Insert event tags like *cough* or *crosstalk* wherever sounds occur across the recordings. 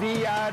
Vi er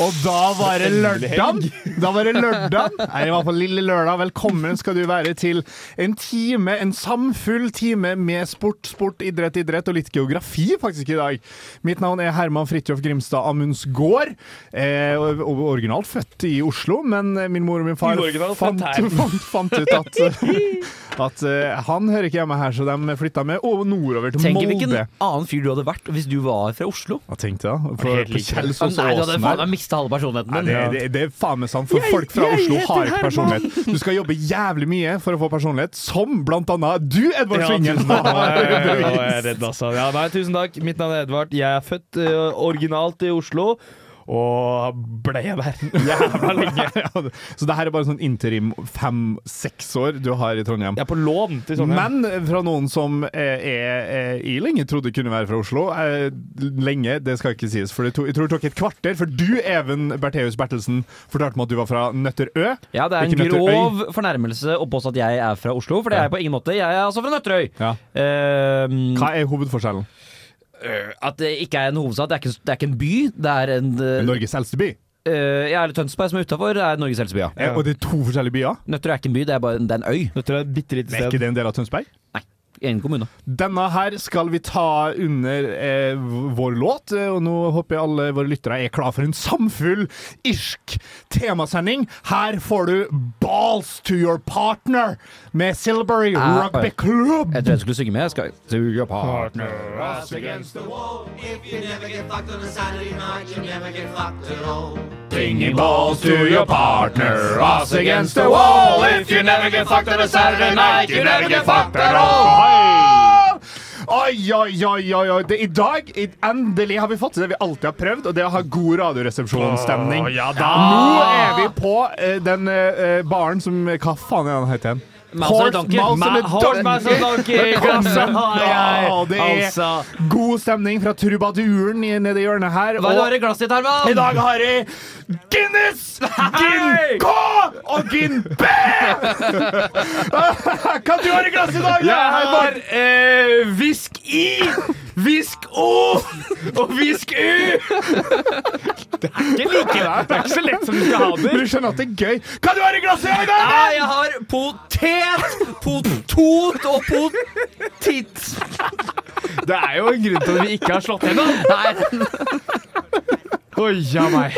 Og da var det lørdag! Da var det lørdag. Nei, i hvert fall lille lørdag. Velkommen skal du være til en time, en samfull time med sport, sport, idrett, idrett og litt geografi faktisk i dag. Mitt navn er Herman Fridtjof Grimstad Amundsgaard. Eh, og- og originalt født i Oslo, men min mor og min far Uoriginalt fant, født her. fant, fant ut at, *laughs* at eh, han hører ikke hjemme her, så de flytta med og nordover til Tenk hvilken Molde. annen fyr du hadde vært hvis du var fra Oslo. Hva tenkte jeg da? På, på Kjelsås Nei, og du hadde Åsen faen her. meg mista halve personligheten Nei, din. det, det, det er faen meg sant, for folk fra Oslo har ikke personlighet. Du skal jobbe jævlig mye for å få personlighet, som blant annet du, Edvard Svingen. *laughs* takk. redd, altså. Ja, nei, tusen takk. Mitt navn er Edvard. Jeg er født eh, originalt i Oslo. Og ble jeg der *laughs* jævla lenge. *laughs* Så det her er bare sånn interim fem-seks år du har i Trondheim. Jeg er på lån til sånn, Trondheim. Men fra noen som eh, er eh, i lenge trodde kunne være fra Oslo eh, Lenge, det skal ikke sies, for det to, jeg tror det tok et kvarter. For du, Even Bertheus Bertelsen, fortalte meg at du var fra Nøtterøy. Ja, det er en Ikke Nøtterøy. grov fornærmelse å påstå at jeg er fra Oslo, for det er jeg på ingen måte. Jeg er altså fra Nøtterøy. Ja. Ehm, Hva er hovedforskjellen? at det ikke er en hovedstad, det er ikke, det er ikke en by. Det er en uh, Norges eldste by. Jeg er Tønsberg, som er utafor, er Norges eldste by. ja. Eh, Og det er to forskjellige byer. Nøtterøy er ikke en by, det er bare en, det er en øy. Dette er et bitte lite Er sted. ikke det en del av Tønsberg? Nei, en kommune. Denne her skal vi ta under eh, vår låt, eh, og nå håper jeg alle våre lyttere er klar for en samfull irsk temasending. Her får du 'Balls to Your Partner' med Silbury Ah, Rugby Club. Jeg tror jeg skulle synge med. Jeg skal Suge partner. Bringing balls to your partner, us against the wall. If you never get fucked on a Saturday night, you never get fucked at all. Oi, oi, oi, oi, oi. Det, I dag, i, endelig har vi fått til det vi alltid har prøvd, og det er å ha god radioresepsjonsstemning. Nå er vi på eh, den eh, baren som Hva faen er den het igjen? Mouse and Donkey. Mouse and Ma- Horse, Mouse and Donkey. *laughs* Glasset har jeg. Ja, det er Altså. god stemning fra trubaduren i- nede i hjørnet her. Hva er og- det du har i glasset ditt, Herman? i dag har jeg Guinness, Gin K og Gin B! Hva du har i glasset i dag? Jeg har eh, Visk I, Visk O og Visk U! Det er ikke like Det er ikke så lett som du skal ha Men det. Du skjønner at det er gøy. Hva du har i glasset i dag? Nei, jeg har potet, potot og potit. Det er jo en grunn til at vi ikke har slått gjennom. Nei, Oi, ja, meg.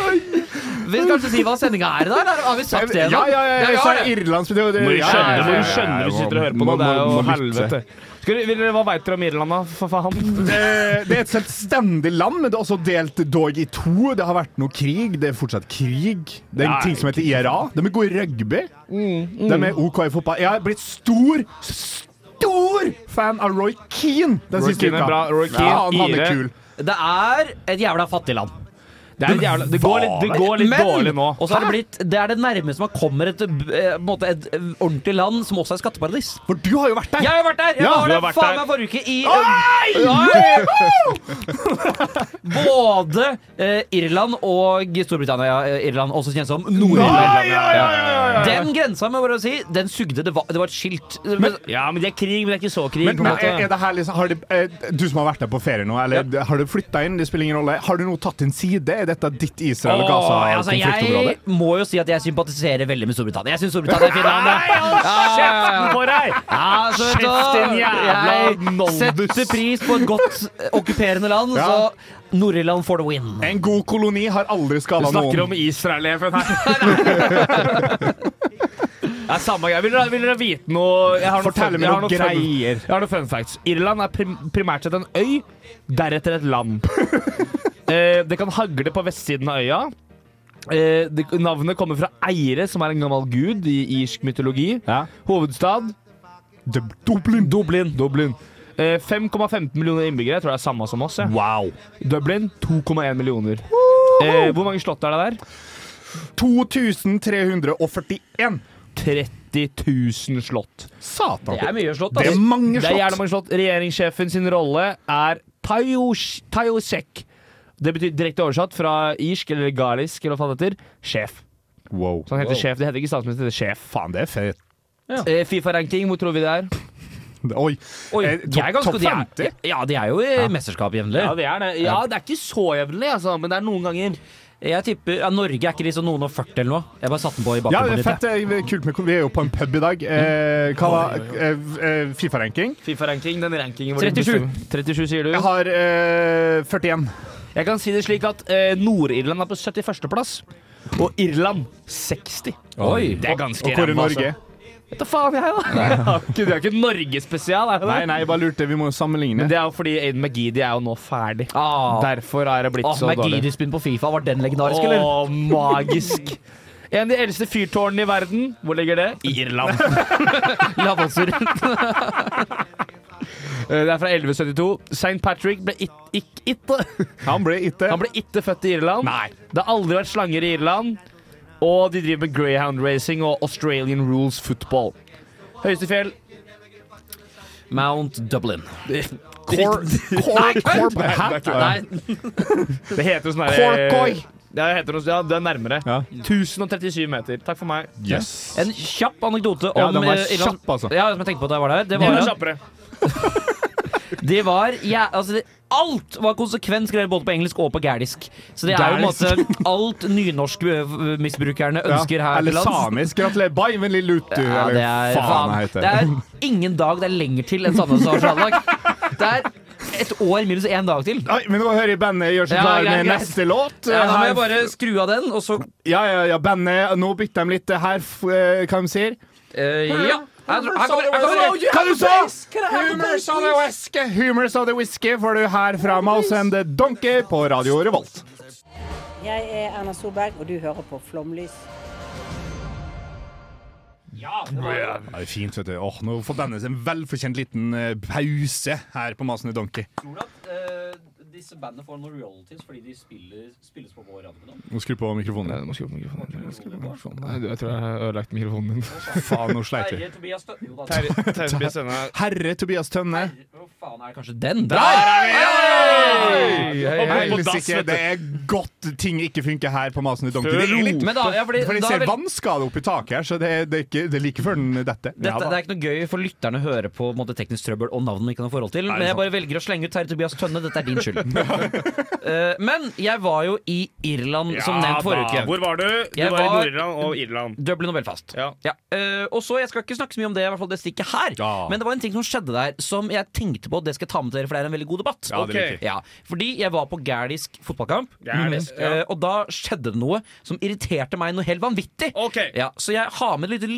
vil kanskje si hva sendinga er i dag? eller Har vi sagt det? Ja, nå? ja, ja, ja, vi jeg har sa det. Irland så det- det- Må du ja, ja, ja, skjønne, ja, må du skjønne hvis du sitter og hører på Må- nå. Det er må- jo må lytte. helvete. Skal du, vil dere, hva veit dere om Irland, da? For faen. Eh, Det er et selvstendig land, men det er også delt dog i to. Det har vært noe krig. Det er fortsatt krig. Det er en Ja, Mm, ting som heter IRA. De er gode i rugby. De er OK i fotball. Jeg har blitt stor, stor fan av Roy Keane den Roy siste Keane er uka. bra. Roy Keane, ja, han, han er ire. kul. Det er et jævla fattig land. Det, er jævla, det går litt, det går litt Men- dårlig nå. Og så er det blitt Det er det nærmeste man kommer et, eh, på en måte et eh, ordentlig land som også er skatteparadis. For du har jo vært der. Jeg har vært der! Jeg Ja, var du der har vært faen der. meg forrige uke i Oi! *laughs* både eh, Irland og Storbritannia. eh, Irland, også kjent som Nord-Irland. Oi, oi, oi, oi, oi. Den grensa, må jeg bare si, den sugde. Det var, det var et skilt. ja, men det er krig, men det er ikke så krig. Men, men er er det her liksom, har det, eh, Du som har vært der på ferie nå, eller har du flytta inn? Det spiller ingen rolle. Har du nå tatt din side? Er dette ditt Israel- og Åh, altså, Gaza-konfliktområde? jeg må jo si at jeg sympatiserer veldig med Storbritannia. Jeg syns Storbritannia er fint land. Kjeften på deg! Ja, så vet du Kjeft, din jævla Jeg setter pris på et godt eh, okkuperende land, Ja. så Nord-Irland får the win. En god koloni har aldri skada Du noen. snakker om Israel-FN her. Det er samme greie. Vil dere, vil dere vite noe Jeg har noen Fortell fun- meg jeg har noen noen fun- greier. Jeg har noen fun facts. Irland er prim primært sett en øy, *laughs* deretter et land. Eh, det kan hagle på vestsiden av øya. Eh, det, navnet kommer fra Eire, som er en gammel gud i irsk mytologi. Ja. Hovedstad Dublin. Dublin. Eh, 5,15 millioner innbyggere. Jeg tror det er samme som oss. jeg. Wow. Dublin 2,1 millioner. Eh, hvor mange slott er det der? 2341. 30 000 slott. Satan. Det er mye slott. Det er mange Det er slott. gjerne mange slott. Regjeringssjefen sin rolle er Tayosh- Tayosek. Det betyr direkte oversatt fra irsk eller galisk eller hva faen det heter. Sjef. Wow. Så han heter sjef. Det heter ikke statsminister, det heter sjef. Faen, det er fett. Eh, Fifa-ranking, hvor tror vi det er? Oi. Oi, Eh, de er ganske topp de er- 50? Ja, de er jo i mesterskap jevnlig. det er det. Ja, det er ikke så jevnlig, altså, men det er noen ganger. Jeg tipper ja, Norge er ikke de som noen og 40 eller noe. Jeg bare satte den på i Ja, bakgrunnen. det er litt, jeg. fett. Det er kult med Vi er jo på en pub i dag. Eh, Mm. hva var eh, eh, Fifa-ranking? Fifa-ranking, den rankingen 37. 37 sier du. Jeg har eh, 41. Jeg kan si det slik at eh, Nord-Irland er på 71. plass, og Irland 60. Oi. Det er ganske Og hvor er ræva, altså. Norge? Vet da faen jeg, da. Det er ikke- det er ikke Norge-spesial, er det Nei, det? nei, jeg bare lurte. Vi må jo sammenligne. Men det er jo fordi Aiden McGeady er jo nå ferdig. Ah. Derfor er det blitt Ah, så dårlig. Magidis-spinn på Fifa, var den legendarisk, eller? Å, magisk. En av de eldste fyrtårnene i verden. Hvor ligger det? Eh, I *laughs* Irland. Lavvollsur. *laughs* Eh, Det er fra 1172. St. Patrick ble it, *laughs* ikk- itte. Han ble ikke Han ble ikke født i Irland. Nei. Det har aldri vært slanger i Irland. Og de driver med greyhound racing og Australian rules football. Høyeste fjell Mount Dublin. Cor- Cor- Corp. Hæ? Nei, Det heter noe sånn der- Corcoy. Ja, det heter noe, ja, det er nærmere. Ja. 1037 meter. Takk for meg. Yes. en kjapp anekdote Ja, om den var eh, Irland. kjapp, altså. Ja, som jeg tenkte på da jeg var der. Det Enda var, kjappere. det var ja, altså, det, Alt var konsekvent skrevet både på engelsk og på gælisk. Så det er jo en Gælisk. måte *laughs* alt nynorskmisbrukerne ønsker Ja, her til eller lands. samisk. Gratulerer. Bye, men lille Lutu. Ja, det er, eller faen jeg heter. det er ingen dag det er lenger til enn Sandnes har slalåmlag. Det er et år minus én dag til. Oi, men nå hører jeg bandet gjøre seg Ja, klar greit, med greit. neste låt. Ja, da må Her- jeg bare skru av den, og så ja, ja, ja, bandet. Nå bytter de litt her, f- eh, hva de sier. eh, Ja! Her kommer- her kommer- her kommer det! Hva du sa Humors of the Whiskey! Humors of the Whiskey får du her fra Mouse and the eh, Donkey på Radio Revolt. Jeg er Erna Solberg, og du hører på Flomlys. Ja, det er fint, vet du. Åh, nå får bandet en velfortjent liten eh, pause her på Mouse and the Donkey. Tror du at eh, disse bandene får noen royalties fordi de spilles på vår radiokanal? Nå skrur på mikrofonen. Nei, du må skru på mikrofonen. Du må skru på mikrofonen. Nei, du, jeg tror jeg har ødelagt mikrofonen *laughs* din. Faen, nå sleit vi. Tobias Hva Herre Tobias Tønne. faen er det kanskje den? Hei, hei, hei. Helsike, det er godt ting ikke funker her på Mouse and the Donkey. Før Det er litt Men da, ja, fordi, For jeg da er ser vel- vannskade oppi taket her, så det, det, er, ikke, det er like før den detter. dette, Ja, det er ikke noe gøy for lytterne å høre på, på en måte, teknisk trøbbel og navn de ikke har noe forhold til. Men jeg bare velger å slenge ut Terje Tobias Tønne. Dette er din skyld. Eh, men jeg var jo i Irland, som nevnt forrige uke. Hvor var du? Du Jeg var, i var- Nord-Irland og Irland. Dublin og Belfast. Ja. Eh, og så, Jeg skal ikke snakke så mye om det, i hvert fall det stikket her. Ja. Men det var en ting som skjedde der som jeg tenkte på, og det skal jeg ta med til dere, for det er en veldig god debatt. Ja, det er Ok. ja, fordi jeg var på gælisk fotballkamp, Gælisk, ja. eh, og da skjedde det noe som irriterte meg noe helt vanvittig. Ok. Ja, så jeg har med et lite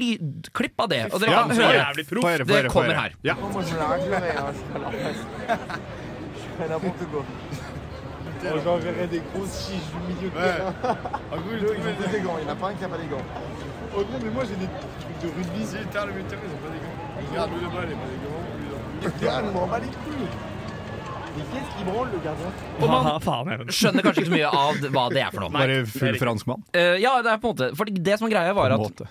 lydklipp av det, og dere Ja, kan så høre. jævlig proff. Få høre, få Det høre, få kommer høre. her. Ja. Skjønner kanskje ikke så mye av hva det er for noe. Bare full franskmann. Eh, ja, det er på en måte Fordi det som er greia, var at Måte.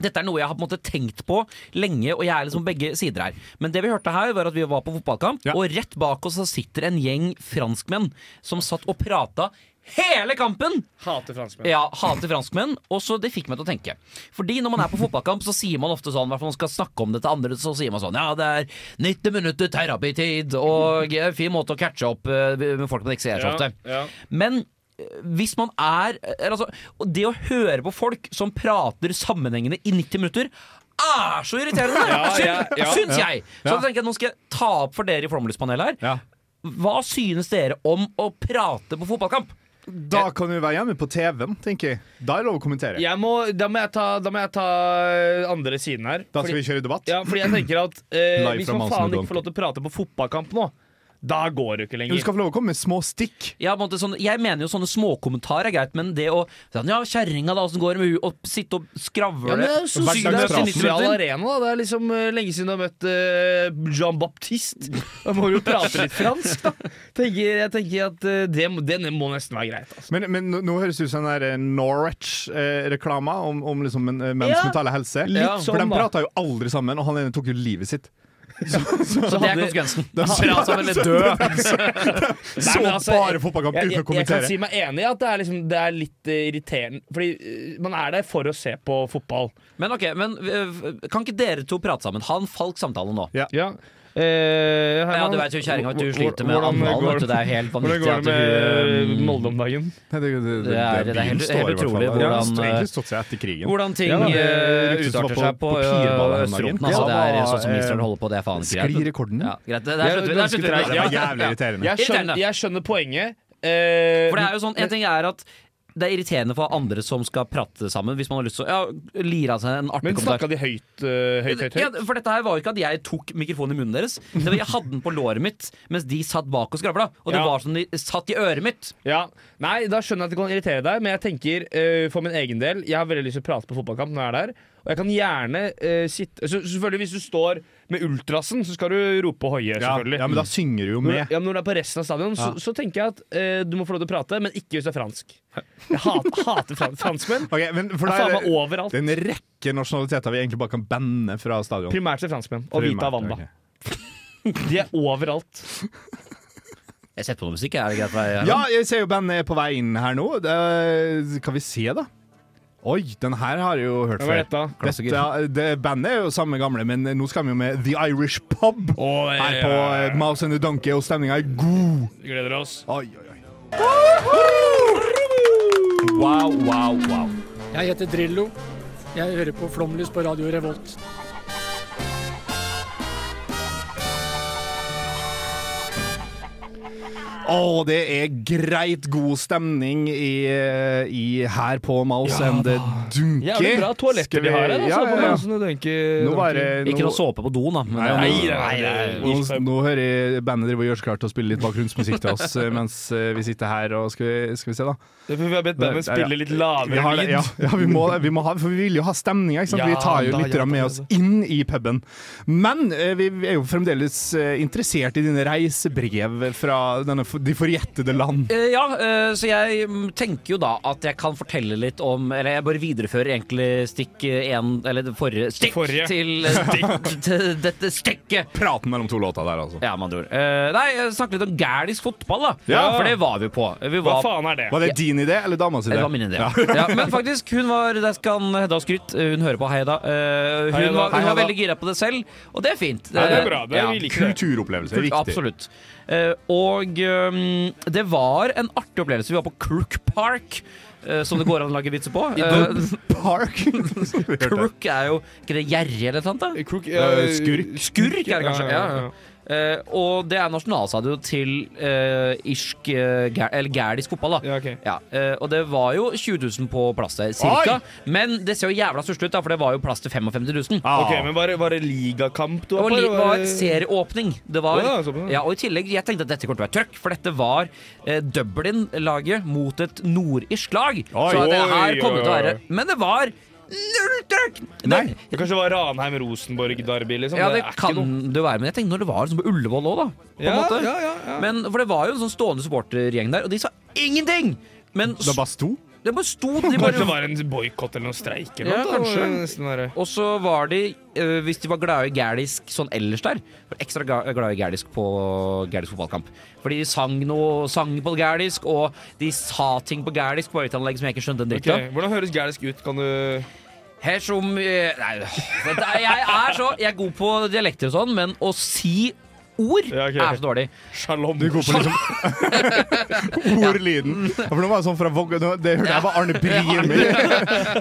dette er noe jeg har på en måte tenkt på lenge, og jeg er liksom begge sider her. Men det vi hørte her, var at vi var på fotballkamp, Ja. og rett bak oss så sitter en gjeng franskmenn som satt og prata hele kampen! Hater franskmenn. Ja, hater franskmenn. Og så det fikk meg til å tenke. Fordi når man er på fotballkamp, så sier man ofte sånn, i hvert fall når man skal snakke om det til andre, så sier man sånn Ja, det er 90 minutter terapitid, og eh, fin måte å catche opp eh, med folk man ikke ser så ofte. Men eh, hvis man er er altså, og Det å høre på folk som prater sammenhengende i 90 minutter er så irriterende! *laughs* Ja, ja, Syn- ja, syns jeg! Ja. Så da tenker jeg at nå skal jeg ta opp for dere i Formlyspanelet her. Ja. Hva synes dere om å prate på fotballkamp? Da kan du være hjemme på TV-en, tenker jeg. Da er det lov å kommentere. Jeg må, da, må jeg ta, da må jeg ta eh, andre siden her. Da skal vi kjøre debatt. Ja, fordi jeg tenker at eh, Live Hvis fra man Mansen faen og ikke får lov til å prate på fotballkamp nå Da går det ikke Du lenger. skal få lov å komme med små stikk. Ja, på en måte sånn, jeg mener jo sånne småkommentarer er greit, men det å sånn, Ja, kjerringa, da, åssen går det med hun? Og sitte og skravle. Ja, men det er jo så sykt det er Hverdagspraten. sosial arena. Da. Det er liksom eh, lenge siden du har møtt eh, Jean Baptiste. Da må du jo prate litt fransk, da. Tenker, jeg tenker at eh, det, må- det må nesten være greit. Altså. Men, men nå- nå høres det ut som den der Norwich-reklama om, om liksom en, eh, menns Ja. mentale helse. Litt Ja. For sånn, de da. prata jo aldri sammen, og han ene tok jo livet sitt. Så det er konsekvensen. Bra *laughs* sammen, eller dø. Nei, Så men altså, bare fotballkamp jeg, uten å jeg, jeg kan kommentere. si meg enig i at det er, liksom, det er litt eh, irriterende. Fordi eh, man er der for å se på fotball. Men ok, men øh, kan ikke dere to prate sammen? Ha en falsk samtale nå. Ja. Ja, eh, Ja, Herman, du veit jo kjerringa at du hvor- sliter med hvordan analen. går- vet du, eh, Det er helt Hvordan vanvittig går at det med eh, du Molde om dagen? Nei, det, det, Det er- det er byen står i hvert helt- helt fall. utrolig Ja, den hvordan, står- eh, egentlig stått seg etter krigen. Hvordan ting Ja, da, det eh, ryktes som var utarter på- seg på, på ø, Pirbanen den dagen. østfronten. Altså, Ja, det er da, sånn som eh, Israel holder på, det er faen ikke Sklir greit. i rekorden? Ja, greit. Det, Jeg der slutter vi- der ønsker slutter deg- vi. Det var Ja. jævlig irriterende. Jeg skjønner, Irriterende. jeg skjønner poenget. eh, For det er jo sånn, en ting er at det er irriterende for andre som skal prate sammen, hvis man har lyst til å ja, lire av seg en artig men snakka kommentar. de høyt, eh, høyt, høyt? høyt? Ja, for dette her var jo ikke at jeg tok mikrofonen i munnen deres. Det var Jeg hadde den på låret mitt mens de satt bak og skravla. Og det Ja. var som de satt i øret mitt. Ja, Nei, da skjønner jeg at det kan irritere deg, men jeg tenker eh, for min egen del Jeg har veldig lyst til å prate på fotballkamp når jeg er der. Og jeg kan gjerne eh, sitte så, Selvfølgelig Hvis du står med ultrasen, så skal du rope og hoie. Ja, selvfølgelig ja, men da Mm. synger du jo når, med. ja, men når du er på resten av stadion, så, så tenker jeg at eh, du må få lov til å prate, men ikke hvis du er fransk. Jeg hater, hater fran franskmenn. Ok, men for Jeg det faen er, meg overalt. det er en rekke nasjonaliteter vi egentlig bare kan banne fra stadion. Primært til franskmenn. Og Vita Wanda. Ok. De er overalt. Jeg setter på noe musikk, er det greit for deg? Ja, jeg ser jo bandet er på vei inn her nå. Det, kan vi se, da? Oi, den her har jeg jo hørt Hva var før. dette? Klassiker. Dette- det, bandet er jo samme gamle, men nå skal vi jo med The Irish Pub. Her på eh, Mouse and the Donkey, og stemninga er god. Gleder oss. Oi, oi, oi. Wow, wow, wow. Jeg heter Drillo. Jeg hører på Flomlys på Radio Revolt. Å, det er greit god stemning i, i, her på Mouse and the Donkey. Jævlig bra toaletter Skal de har her. Ja, Altså, ja, ja. Sånn, Nå var det Ikke nå- noe såpe på doen, da. Men Nei, det, nå- nå, nå hører jeg bandet driver og gjør seg klar til å spille litt bakgrunnsmusikk til oss eh, mens eh, vi sitter her og skal vi, skal vi se, da. Det er fordi vi har bedt Ja, ja. bandet spille litt Vi lavere har, det- lyd. ja, ja vi, må, vi må ha For vi vil jo ha stemninga. ikke sant? Ja, vi tar jo da, litt ja, da, med ja, oss da. inn i puben. Men eh, vi vi er jo fremdeles eh, interessert i dine reisebrev fra denne, f- de forjettede land. Eh, ja, eh, så jeg mm, tenker jo da at jeg kan fortelle litt om Eller jeg bare viderefører egentlig stikk én Eller det forrige stikk Forrige. til eh, *laughs* stikk *laughs* til dette stikket. Praten mellom to låter der, altså. Ja, med andre ord. Eh, nei, jeg snakker litt om gælisk fotball, da. Ja. For det var vi på. Vi Hva var, faen er det? Var det din idé eller damas idé? det var min idé. *laughs* Ja, men faktisk, hun var Der skal Hedda ha skryt. Eh, Hun hører på Heida. hun, Hei, Hedda. var, hun Hei, var Hedda. veldig gira på det selv, og det er fint. Nei, det Eh, er bra. Det, ja. vi liker det. Kulturopplevelse. Viktig. Absolutt. Eh, og ehm, det var en artig opplevelse. Vi var på Crook Park, eh, som det går an å lage vitser på. Eh, *laughs* Park. Crook er jo ikke det gjerrig eller noe sånt? da? Crook, Eh, skurk. Skurk er det kanskje. Ja, ja. Eh, og det er nasjonalstadion til eh, irsk eh, gæ- Eller gælisk fotball, da. Ja, ok. Ja, eh, og det var jo 20 000 på plass der, cirka. Men det ser jo jævla stusslig ut, da, for det var jo plass til 55 000. Ah. Ok, men var det, var det ligakamp du Det var var, Ah. li- på? eller var var det- serieåpning. Det var, Å ja, såpass. ja, og i tillegg, Jeg tenkte at dette kommer til å være trøkk, for dette var eh, Dublin-laget mot et nordirsk lag. Oi, så det oi, her kommer til å oi, oi. være Men det var null trøkk! Det- Nei. Det kanskje var Ranheim-Rosenborg-derby, liksom? Ja, det er ikke kan noe- det være, men jeg tenkte når det var sånn på Ullevål òg, da. På en ja, måte. Ja, ja, ja. Men, for det var jo en sånn stående supportergjeng der, og de sa ingenting! Men Det var bare sto. s- det bare sto de Kanskje *laughs* det bare, var en boikott eller noen streik eller Ja, noe? da, kanskje. var det nesten der. Og så var de, eh, hvis de var glade i gælisk sånn ellers der, var ekstra ga- glade i gælisk på gælisk fotballkamp. Fordi de sang noe sang på gælisk, og de sa ting på gælisk på høyttalerlegg som jeg ikke skjønte en dritt av. Ok, Hvordan høres gælisk ut? Kan du Her som eh, Nei, dette er- jeg er så Jeg er god på dialekter og sånn, men å si ord Ja, ok. er så dårlig. Shalom. *laughs* Du går på liksom ordlyden. Mm. Ja, For nå var det sånn fra Vågå nå- Det hørte jeg var Arne Brien med.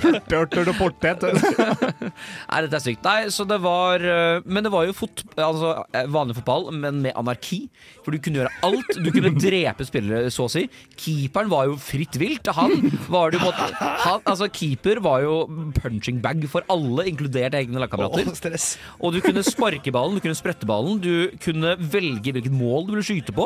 Hurtighørter og *laughs* portet. Nei, dette er sykt. Nei, så det var øh, Men det var jo fot, altså, eh, vanlig fotball, men med anarki. For du kunne gjøre alt. Du *laughs* kunne drepe spillere, så å si. Keeperen var jo fritt vilt. Han var det jo på en måte han, Altså, keeper var jo punching bag for alle, inkludert egne lagkamerater. Stress. Og du kunne sparke ballen, du kunne sprette ballen, du kunne kunne velge hvilket mål du ville skyte på.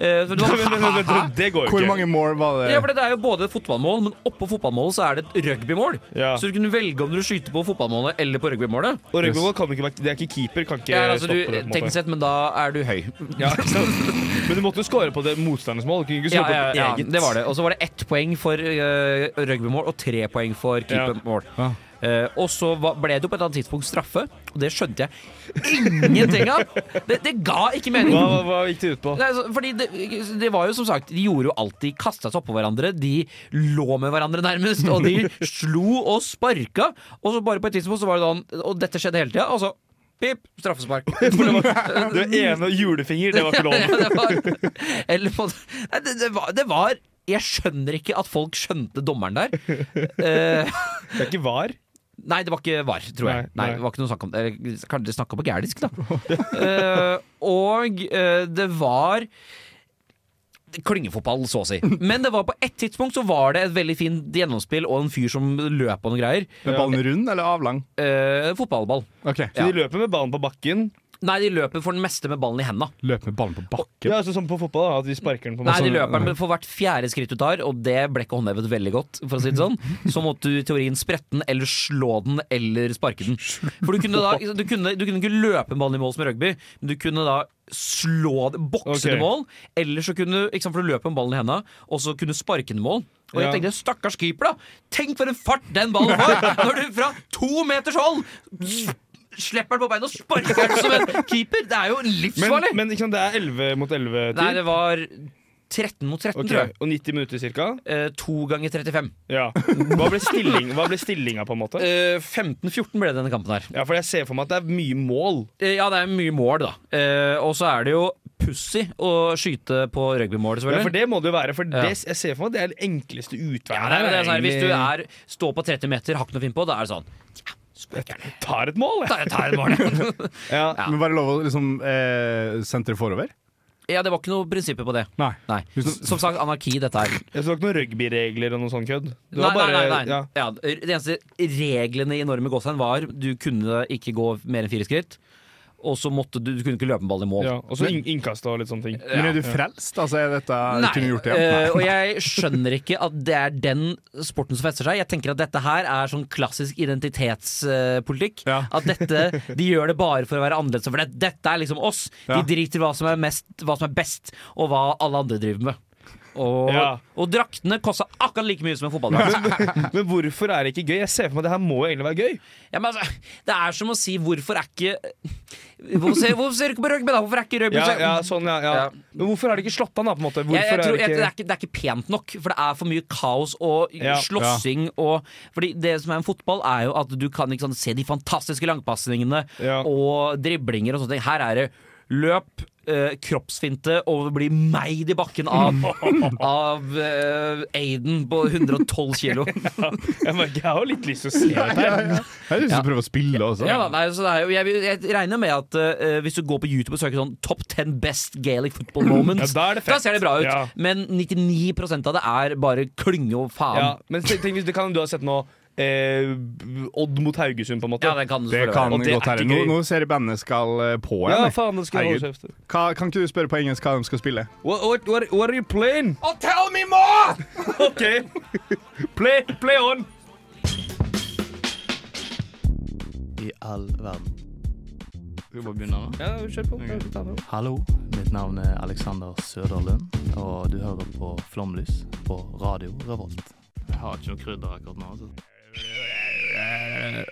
Eh, så det var- *laughs* Men, men, men, men, det går jo Hvor ikke. mange mål var det? Ja, for det er jo både fotballmål, men oppå fotballmålet så er det et rugbymål. Ja. Så du kunne velge om du skyter på fotballmålet eller på rugbymålet. Og Røgbogård kan ikke være Det er ikke keeper, kan ikke Ja, altså, du, stoppe det. på en måte. teknisk sett, men da er du høy. Ja, ikke sant? Men du måtte jo score på det motstandernes mål. Du kunne ikke *laughs* score Ja, ja, på ja, ditt eget. det var det. Og så var det ett poeng for eh, rugbymål og tre poeng for keepermål. Ja. Eh, og så va- ble det jo på et annet tidspunkt straffe, og det skjønte jeg ingenting av! Det, det ga ikke mening. Hva, hva, hva gikk det *laughs* ut på? Nei, altså, fordi det, det var jo som sagt De gjorde jo alt. De kasta seg oppå hverandre. De lå med hverandre nærmest, og de *laughs* slo og sparka. Og så bare på et tidspunkt så var det sånn Og dette skjedde hele tida. Og så pip! *laughs* Straffespark. For det var, Det var ene julefinger, det var *laughs* ja, ikke lov. det var, eller på, nei, det, det, var, det var Jeg skjønner ikke at folk skjønte dommeren der. Eh, Det er ikke var. nei, det var ikke VAR, tror jeg. Nei, Nei, nei. det var ikke noe snakk om det. Eller, Kanskje de snakka på gærdisk, *laughs* da. Eh, og eh, det var Klyngefotball, så å *laughs* si. Men det var på ett tidspunkt så var det et veldig fint gjennomspill og en fyr som løp og noen greier. Er ballen rund eller avlang? Eh, fotballball. Ok, Så de løper med ballen på bakken. Nei, de løper for den meste med ballen i henda. Løp med ballen på bakken. Ja, altså Som på fotball, da, at de sparker den på Nei, de løper den for hvert fjerde skritt du tar, og det ble ikke håndhevet veldig godt. For å si det sånn Så måtte du i teorien sprette den, eller slå den, eller sparke den. For du kunne da Du kunne, du kunne ikke løpe en ball i mål som i rugby, men du kunne da slå den- bokse den i Ok. mål. Eller så kunne ikke sant, for du løp en ballen i henda, og så kunne du sparke den i mål. Og jeg Ja. tenkte, Stakkars keeper, da! Tenk for en fart den ballen får! Når du fra to meters hold s- slipper den på beina og sparker den som en keeper! Det er jo livsfarlig! Men, men ikke sant, det er 11 mot 11 tid. Nei, det var 13 mot 13, Ok, tror jeg. Og 90 minutter cirka? Eh, To ganger 35. Ja. Hva ble, stilling, hva ble stillinga, på en måte? Eh, 15-14 ble det denne kampen her. Ja, for jeg ser for meg at det er mye mål. Eh, ja, det er mye mål, da. Eh, og så er det jo pussig å skyte på rugbymål, Ja, selvfølgelig. for det må det jo være. For Ja. det, jeg ser for meg at det er den enkleste utveien. Ja, det er, jo det, sånn her, hvis du egentlig- er, står på 30 meter, har ikke noe å finne på, da er det sånn Ja, spark gjerne. Tar et mål, jeg. Ta- ta et mål. *laughs* Ja. Ja. Men var det lov å liksom eh, sentre forover? ja, det var ikke noe prinsipper på det. Nei. Nei. Som sagt, anarki, dette her. Jeg så ikke noen rugbyregler og noe sånn kødd. Det Nei, var bare, nei, nei, nei. Ja. Ja, det eneste reglene i Norge med Gåsheim var du kunne ikke gå mer enn fire skritt, og så måtte du, du kunne ikke løpe en ball i mål. Ja, og så in innkast og litt sånne ting. Men er du frelst? Altså, er dette Nei, kunne gjort det? eh, og jeg skjønner ikke at det er den sporten som fester seg. Jeg tenker at dette her er sånn klassisk identitetspolitikk. Ja. At dette, de gjør det bare for å være annerledes. For det, dette er liksom oss. Ja. De driter i hva som er mest, hva som er best, og hva alle andre driver med. Og, Ja. og draktene kosta akkurat like mye som en fotballdrakt. Men hvorfor er det ikke gøy? Jeg ser for meg at det her må jo egentlig være gøy. Ja, men altså, det er som å si hvorfor er ikke Hvorfor ser, hvorfor ser du ikke på rugby, da? Hvorfor er ikke rugby Ja, så- ja, sånn, ja, ja. Ja. Men hvorfor er det ikke slått an, da? på en måte? Hvorfor Jeg, jeg tror, er det jeg, det, er ikke... ikke, det er ikke pent nok, for det er for mye kaos og Ja. slåssing. Og, fordi det som er med fotball, er jo at du kan ikke sant, se de fantastiske langpasningene Ja. og driblinger og sånne ting. Her er det løp, eh, kroppsfinte og bli meid i bakken *laughs* av, av eh, Aiden på 112 *laughs* kilo. Jeg merker jeg har jo litt lyst til å se det her. Jeg har lyst til å prøve å spille også. Ja, da, nei, så det er, jo- jeg, vil- jeg regner med at eh, hvis du går på YouTube og søker sånn 'Top 10 best Gaelic *laughs* football moments', Ja, da er det fett. ser det bra ut. Ja. Men 99 av det er bare klynge og faen. Ja, men tenk, tenk hvis det kan du ha sett nå. Eh, Odd mot Haugesund, på en måte. Ja, det kan du Det selvfølgelig kan være. Og det er godt være. ikke Nå, gøy. nå ser jeg bandet skal eh, på igjen. Ja, jeg. faen, det skal jeg holde Herregud. kjeft. Hva, kan ikke du spørre på engelsk hva de skal spille? What, what, what, what are you playing? Oh, tell me *laughs* more! OK. Play, play on. i all verden. Skal vi bare begynne nå? Ja, kjør på. Hallo, mitt navn er Alexander Søderlund, og du hører på Flomlys på Radio Revolt. Jeg har ikke noe krydder akkurat nå. altså.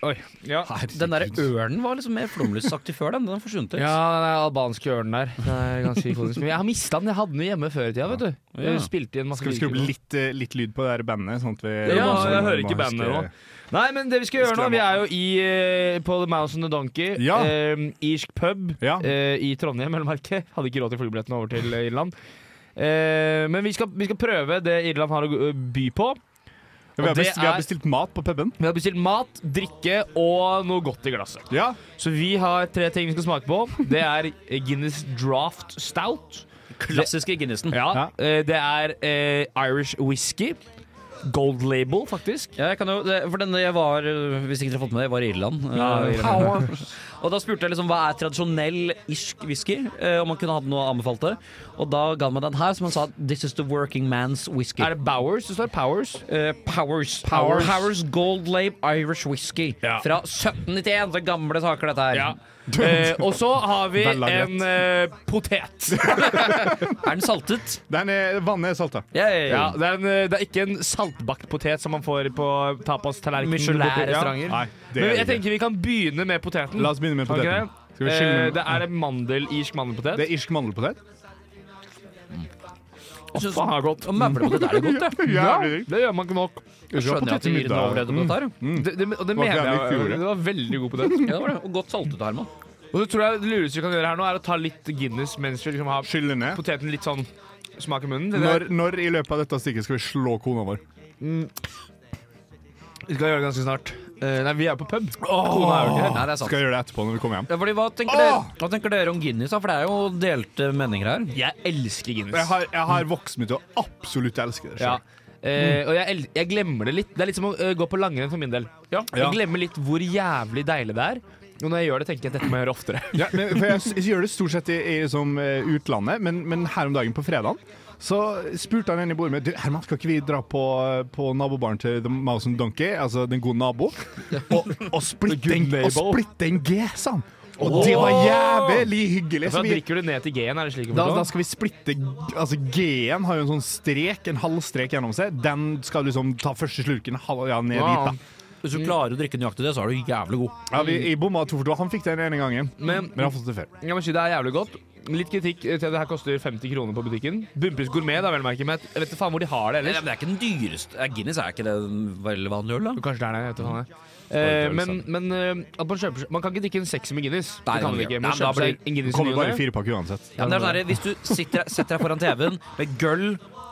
Oi. Ja. Den der ørnen var liksom mer flomlysaktig før den. Den har forsvunnet ut. Ja, den er albanske ørnen der. Det er ganske ikonisk. Men jeg har mista den. Jeg hadde den jo hjemme før i tida, vet du. Jeg spilte i en masse Skal vi skru opp videoer. litt, eh, litt lyd på det her bandet? Sånn at vi Ja, sånn at jeg vi hører må ikke bandet huske- nå. Nei, men det vi skal gjøre nå, vi er jo i, eh, på The Mouse and the Donkey. Ja. eh, irsk pub Ja. eh, i Trondheim, eller merke. Hadde ikke råd til flybilletten over til eh, Irland. Eh, men vi skal, vi skal prøve det Irland har å eh, by på. Ja, vi, Og har det bestilt, vi har er- bestilt mat på puben. Vi har bestilt mat, drikke og noe godt i glasset. Ja. Så vi har tre ting vi skal smake på. Det er Guinness Draft Stout. Klassiske Guinnessen. Ja, Ja. eh, Det er eh, Irish whisky. Gold label, faktisk. Ja, jeg kan jo, det, for denne jeg var øh, Hvis ikke dere har fått med det, jeg var i Irland. Eh, *laughs* og da spurte jeg liksom hva er tradisjonell irsk whisky, eh, om han kunne hatt noe å anbefale. Og da ga han meg den her, som han sa This is the working man's whisky. Er det Bowers? Det står Powers. Eh, Powers. Powers. Gold Lab Irish Whisky Ja. fra 1791. Så gamle saker, dette her. Ja. Eh, og så har vi Vel lagret. en eh, potet. Er den saltet? Den er, vannet er salta. Yay. Ja, det, er en, eh, det er ikke en saltbakt potet som man får på tapas-tallerkenen. Michelin-restauranter. Ja. Nei, det Men er jeg det ikke. tenker vi kan begynne med poteten. La oss begynne med Kan vi ikke poteten. det? Skal vi skille Eh, mellom- det er en mandel, irsk mandelpotet. Det er irsk mandelpotet. Jeg synes- Faen, det er godt. Og møvlepotet er det godt, det. Ja, Jævlig digg. det gjør man ikke nok. Jeg skjønner at Irene overlevde på dette her. Det, det, og Mm. var det ikke mener jævlig jeg. i fjor, ja. Det var veldig god potet. *laughs* Ja, det var det. Og godt saltet, Herman. Og så tror jeg det lureste vi kan gjøre her nå, er å ta litt Guinness mens vi liksom har Skylle ned. poteten litt sånn smak i munnen. Det Når, der- når i løpet av dette stikket skal vi slå kona vår? Vi skal gjøre det ganske snart. Eh, nei, vi er på pub. Kona er jo ikke her. Nei, det er sant. Skal jeg gjøre det etterpå når vi kommer hjem? Ja, fordi hva tenker, dere, hva tenker dere om Guinness? da? For det er jo delte meninger her. Jeg elsker Guinness. Jeg har, jeg har vokst meg til å absolutt elske det. Ja. selv. Eh, og jeg, el- jeg glemmer det litt. Det er litt som å eh, gå på langrenn for min del. Jeg glemmer litt hvor jævlig deilig det er. Og når jeg gjør det, tenker jeg at dette må jeg gjøre *laughs* oftere. Ja, men, for jeg, s- jeg gjør det stort sett i, i liksom, eh, utlandet, men, men her om dagen på fredagen så spurte han en i bordet med Du, Herman, skal ikke vi dra på, på nabobaren til The Mouse and Donkey, altså Den gode nabo, og, og splitte en, The og good neighbor. splitte en G, sa han. Og det var jævlig hyggelig. Så Så da vi, drikker du ned til G-en, er det slik? å da, da forstå? skal vi splitte Altså G-en har jo en sånn strek, en halv strek gjennom seg. Den skal du liksom ta første slurken halv, ja, ned Wow. dit, da. Hvis du klarer å drikke nøyaktig det, så er du jævlig god. Ja, vi, jeg bomma to for to. Han fikk den ene gangen, Men men han har fått det før. jeg må si det er jævlig godt. Litt kritikk eh, til at det her koster 50 kroner på butikken. Bunnpris gourmet, da, vel å merke. Men jeg vet ikke faen hvor de har det Nei, ellers. men det er ikke den dyreste. Eh, Guinness er ikke det en veldig vanlig øl, da? Kanskje det er det. jeg vet ikke faen jeg. Eh, men men eh, at man, kjøper, seg- man kan ikke drikke en sexy med Guinness. Nei, det kan man det ikke. kan man ikke. Nei, men da Man kjøper seg en Guinness i ny Kommer og bare i ne. firepakke uansett. Ja, men det er sånn her, Hvis du sitter, setter deg foran TV-en med gull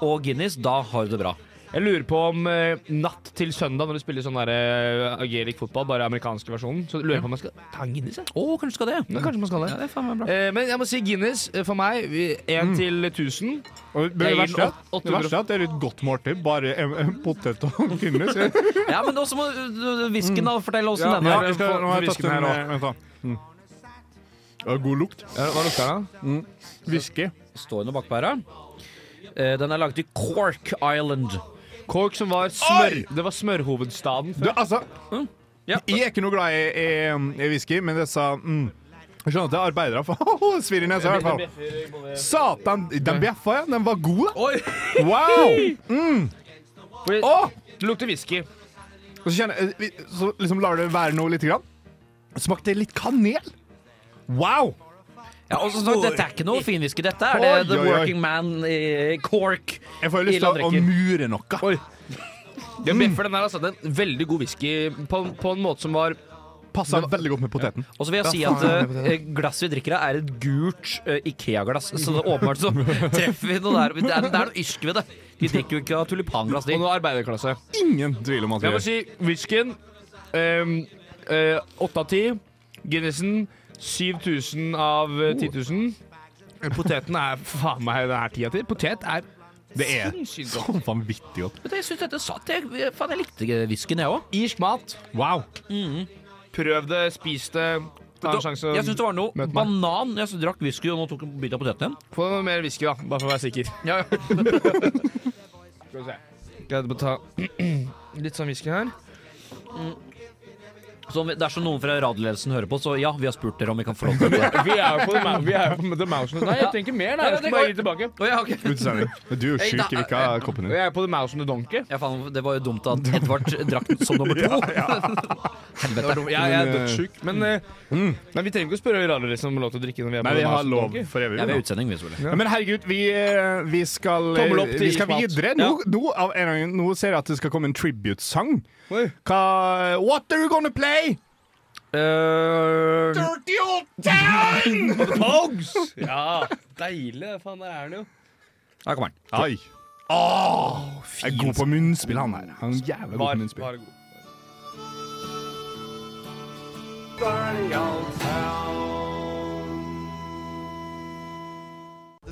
og Guinness, da har du det bra. Jeg lurer på om eh, natt til søndag, når du spiller sånn der eh, ageric fotball, bare amerikanske versjonen, så lurer jeg på om man skal ta en Guinness. jeg. Å, kanskje du skal det? Ja, kanskje man skal det. Ja, det er faen meg bra. Eh, men jeg må si Guinness eh, for meg. vi- Én til 1000. Og det, Jeg gir verste, er- den åt- det 800. verste er at det er et godt måltid. Bare em- em, potet og Guinness. Ja, Ja, men også må du- du- Hvisken, da. Fortell åssen den ja, er. jeg skal, nå har jeg tatt Whisky den her her også. Vent, da. Mm. Ja, god lukt. Hva lukter den, da? Whisky. Står under bakpæra. Eh, Den er laget i Cork Island. Cork, som var smør... Det var smørhovedstaden Du, før. altså Ja. Jeg er ikke noe glad i, i, i whisky, men disse mm, Jeg skjønner at det er arbeidere, for *laughs* svir i nesa i hvert fall. Satan! Den bjeffa, ja. Den var god. da. Oi! Wow! Mm. Fordi- Åh! Det lukter whisky. Og så, kjenner, jeg- vi- så liksom lar det være noe lite grann. Smakte litt kanel. Wow! Ja, og som sagt, Dette er ikke noe finwhisky. Dette er det The Oi, oi, oi. Working Man i Cork. Jeg får jo lyst til å, å Ildandrekker. mure noe. Jeg bjeffer den her, altså. Det er en veldig god whisky på, på en måte som var Passa veldig godt med poteten. Og så vil jeg si at eh, glasset vi drikker av, er et gult eh, Ikea-glass. Så det er åpenbart så treffer vi noe der. Det er, det er noe irsk ved det. De drikker jo ikke av tulipanglass, Og de. nå arbeiderklasse. Ingen tvil om at vi Jeg må gjør. si whiskyen. ehm, eh, Åtte av ti. Guinnessen 7000 av eh, 10 000. Poteten er faen meg det er ti av ti. Potet er Det er sinnssykt godt. så vanvittig godt. Men jeg synes dette satt. Jeg, faen, jeg likte whiskyen, jeg òg. Irsk mat. Wow. Prøv det, spis det. Ta en sjanse. Jeg syns det var noe Møt meg. banan. Jeg synes jeg drakk whisky, og nå tok jeg en bit av poteten igjen. Få noe mer whisky, da. Bare for å være sikker. Ja, ja. Skal vi se. Greide på å ta *clears throat* litt sånn whisky her. Så om- dersom noen fra radioledelsen hører på, så ja, vi har spurt dere om vi kan få lov til *laughs* det. Vi er jo på The, vi er jo på the Mouse Nei, jeg trenger ikke mer. da. Jeg skal bare gi det tilbake. Å, ja, ok. Utsending. Men Du er jo Nei, sjuk, da- jeg vil ikke ha koppen din. Jeg er på The Mouse and the Donkey. ja, faen, det var jo dumt at Edvard drakk som nummer to. Helvete. Jeg, jeg er Men, eh, dødssjuk. Men, eh, men vi trenger ikke å spørre radioledelsen om vi har lov til å drikke. Når vi er på Nei, vi The har Mouse lov Donkey. for evig. Ja, vi vi er da. utsending, vi, selvfølgelig. Ja, men herregud, vi, eh, vi skal, eh, Tommel opp til vi skal Ismat. videre. Nå, nå, av en eller annen- nå ser jeg at det skal komme en tribute-sang. Oi. Hva What are you gonna play? Eh, Dirty old town! Pogs! Ja, deilig. Faen, der er den jo. Ja, kom her. Oi. Åh, jeg er god på munnspill, han her. Han er jævlig god på munnspill. var god.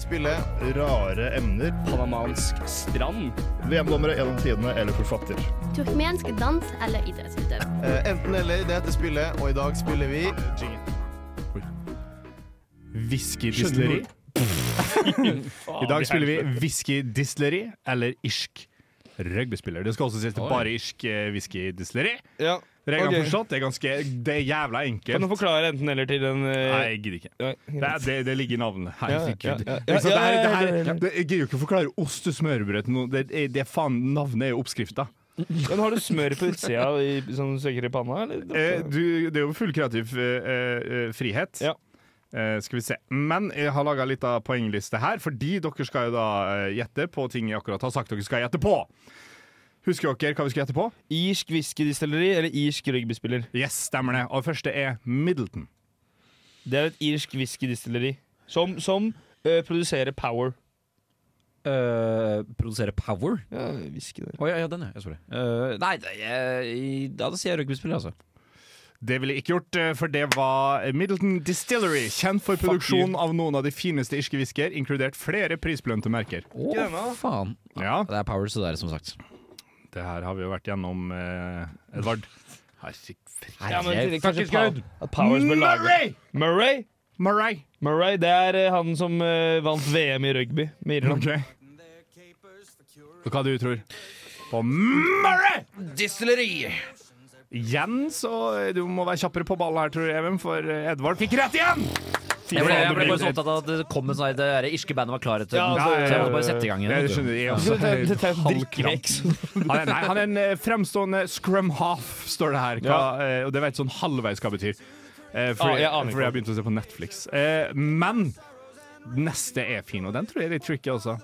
spille rare emner. Panamansk strand. VM-dommere gjennom tidene eller forfatter. Turkmensk dans eller idrettsutøver. Eh, enten eller, det heter spillet, og i dag spiller vi Jingle. Whiskydistilleri. I dag spiller vi whiskydistilleri eller irsk rugbyspiller. Det skal også sies det er bare irsk eh, whiskydistilleri. Ja. Reglene Ok. forstått, det er ganske Det er jævla Kan du enkelt. forklare enten eller til den Nei, eh, jeg gidder ikke. ja, Det, er- det, det ligger i navnet. Ja, Herregud. ja, ja, ja, Ikke sant? Det her- det her- ja, ja, ja. det- Jeg gidder jo ikke å forklare ost og smørbrød til noen. Det, er- det er faen, navnet er jo oppskrifta. Men har du smør på utsida i- som du søker i panna, *laughs* eller? Eh, du, det er jo full kreativ eh, eh, frihet. Ja. Eh, skal vi se. Men jeg har laga litt av poengliste her, fordi dere skal jo da eh, gjette på ting jeg akkurat har sagt dere skal gjette på. Husker dere hva vi skal gjette på? Irsk whiskydistilleri eller irsk rugbyspiller? Yes, stemmer det. Og det første er Middleton. Det er et irsk whiskydistilleri som, som eh, produserer power. Eh, produsere power? Ja, whisky der. Å ja, ja, den, ja. Sorry. Eh, Uh, nei, det, jeg, ja, da sier jeg rugbyspiller, altså. Det ville jeg ikke gjort, eh, for det var Middleton Distillery. Kjent for produksjon av noen av de fineste irske whiskyer, inkludert flere prisbelønte merker. Å, faen. Ja, Det er power, så det er som sagt. det her har vi jo vært gjennom, eh, Edvard. Herregud. Ja, men Herre- kanskje Fuckings pow- good. at powers bør lage- Murray! Murray? Murray. Murray, det er eh, han som eh, vant VM i rugby med Irland. Ok. Hva du tror? På Murray! Distilleri! Igjen, så du må være kjappere på ballen her, tror jeg, Even, for Edvard fikk rett igjen! Jeg ble, jeg ble bare så opptatt av at det kom en sånn her- det der irske bandet var klare til Ja, den, altså, så jeg måtte bare sette i gang Jeg igjen. skjønner, jeg Så også. Dette er- dette er et Halv drikkeheks. *laughs* Han er, nei, han er en eh, fremstående scrum half, står det her. Hva, eh, og det vet sånn halvveis hva det betyr. Eh, Ah, fordi, jeg aner ikke. fordi jeg har begynt å se på Netflix. Eh, men neste er fin, og den tror jeg er litt tricky også.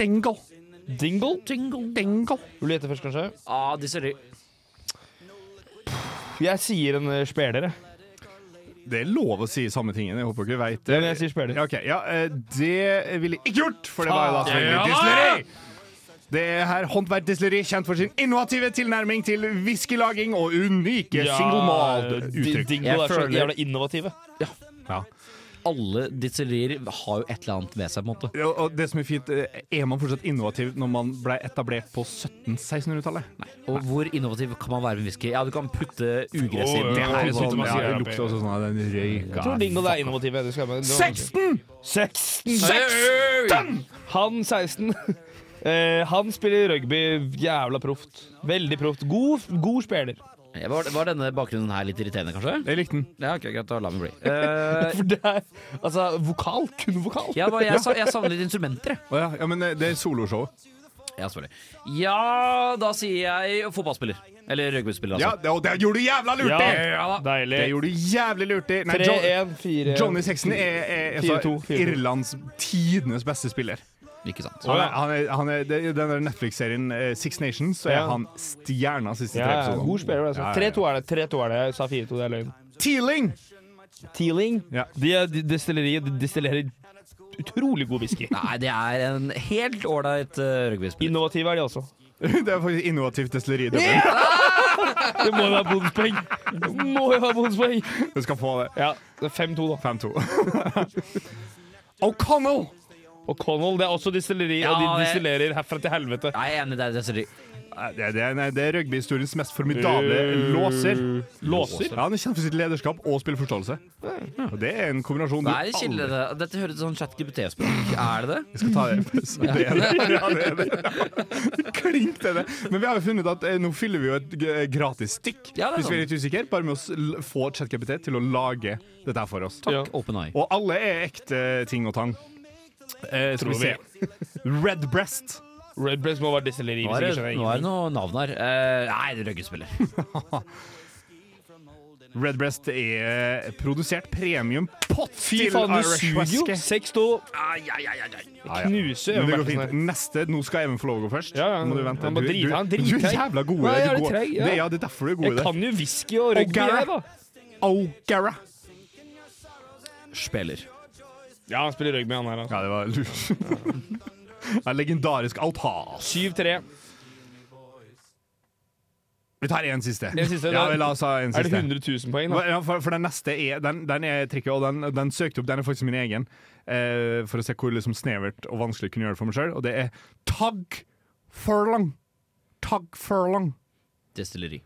Dingle. Dingle? Vil du gjette først, kanskje? Ah, distilleri. Jeg sier en eh, speler, jeg. Det er lov å si samme tingen. Jeg håper ikke du veit Men jeg sier speler. Ja, ok. ja, eh, det ville jeg ikke gjort, for det var jo da selvfølgelig distilleri. Det er her Håndverk Distilleri, kjent for sin innovative tilnærming til whiskylaging og unike single malt di- uttrykk. Dingle Jeg er så føler- jævla innovative. Alle distillerier har jo et eller annet ved seg, på en måte. Og og det som er fint, eh, er man fortsatt innovativ når man ble etablert på 1700-1600-tallet? Og hvor innovativ kan man være med whisky? Ja, du kan putte ugress i Det den. her er Sånn, sånn, ja. ja, det lukter også sånn av den Jeg tror røyka. Dingle er innovative. Det skal jeg med. Det var- 16! 16! Seksten! Han 16. *laughs* Eh, han spiller rugby jævla proft. Veldig proft. God, god spiller. *laughs* Var, var denne bakgrunnen her litt irriterende, kanskje? Jeg likte den. Ja, ok, greit, da lar vi bli. Eh, For det er altså vokal. Kun vokal. ja, hva- jeg, sa- jeg savner litt instrumenter, jeg. Å ja, ja, men eh, det er Altså. soloshow. Ja, selvfølgelig. Ja, da sier jeg fotballspiller. Eller rugbyspiller, Ja, altså. det, og det gjorde du jævla lurt i! Det Deilig. gjorde du jævlig lurt i. Nei, John- 3-1, 4 Johnny Sexton er, er, er 4-2, altså 4-2. Irlands tidenes beste spiller. Ikke sant. Han er, han er, han er, det er jo den der Netflix-serien eh, Six Nations, så er Ja. han stjerna siste tre Ja, episoder. god spiller. Altså. Ja, ja, ja. 3-2 er det. 3-2 er det. Jeg sa 4-2, det er løgn. Teeling! *laughs* Teeling. Ja. De, er- de destilleriet de destillerer utrolig god whisky. Nei, det er en helt ålreit uh, rugbyspiller. Innovative er de også. Det er faktisk innovativt destilleri. Det, Det må jo være bonuspoeng! Det Må jo være bonuspoeng! det skal få det. Ja, det er 5-2, da. 5-2. *laughs* O'Connell! Og Connell, det er også destilleri, og Ja, de det- destillerer herfra til helvete. Jeg er enig, det er destilleri. Nei, Det, det, er- nei, det er rugbyhistoriens mest formidable låser. Øh, Låser? Ja, Han er kjent for sitt lederskap og spillforståelse. Og det er en kombinasjon du Det er kilde, aldri det. Dette høres ut som chat GBT-språk. Er det det? skal ta det. Så det er det. *laughs* Ja, det, er det. *laughs* Klink til det. Men vi har jo funnet at eh, nå fyller vi jo et g- gratis stikk, Ja, det er hvis vi er sant. litt usikre, bare med å s- l- få ChatGPT til å lage dette her for oss. Ja. Open eye. Og alle er ekte ting og tang. Eh, skal vi se. Red Breast. Red Breast må være destilleri. Nå Hvis er jeg det, ikke skjønner nå er det noe ingenting. navn her. Eh, nei, det er rugbyspiller. Red Breast er eh, produsert premium pott Fy til faen, du Irish suger jo! whisky. 6-2. Ai, ai, ai, ai, ai. Ja, ja. Knuser Men det går Everton fint. Neste, Nå skal Even få lov å gå først. Ja, ja. Nå Må du vente. Han bare Du- driter, du- han driter. Du er jævla gode. Nei, jeg er Du litt går- treg, ja. Det, ja, det er derfor du er god i Jeg det. kan jo whisky og rugby, O'Gara. jeg, da. O'Gara. Spiller. Ja, han spiller rugby, han her. altså. Ja, det var lurt. *laughs* Det er legendarisk altas. 7-3. Vi tar én siste. En siste, ja, da- vi la oss ha en er det siste. 100 000 poeng, da? Ja, for, for den neste er, den, den er tricky, og den, den søkte opp. Den er faktisk min egen, eh, for å se hvor liksom, snevert og vanskelig jeg kunne gjøre det for meg sjøl. Og det er tagg furlong. Tagg furlong. Destilleri.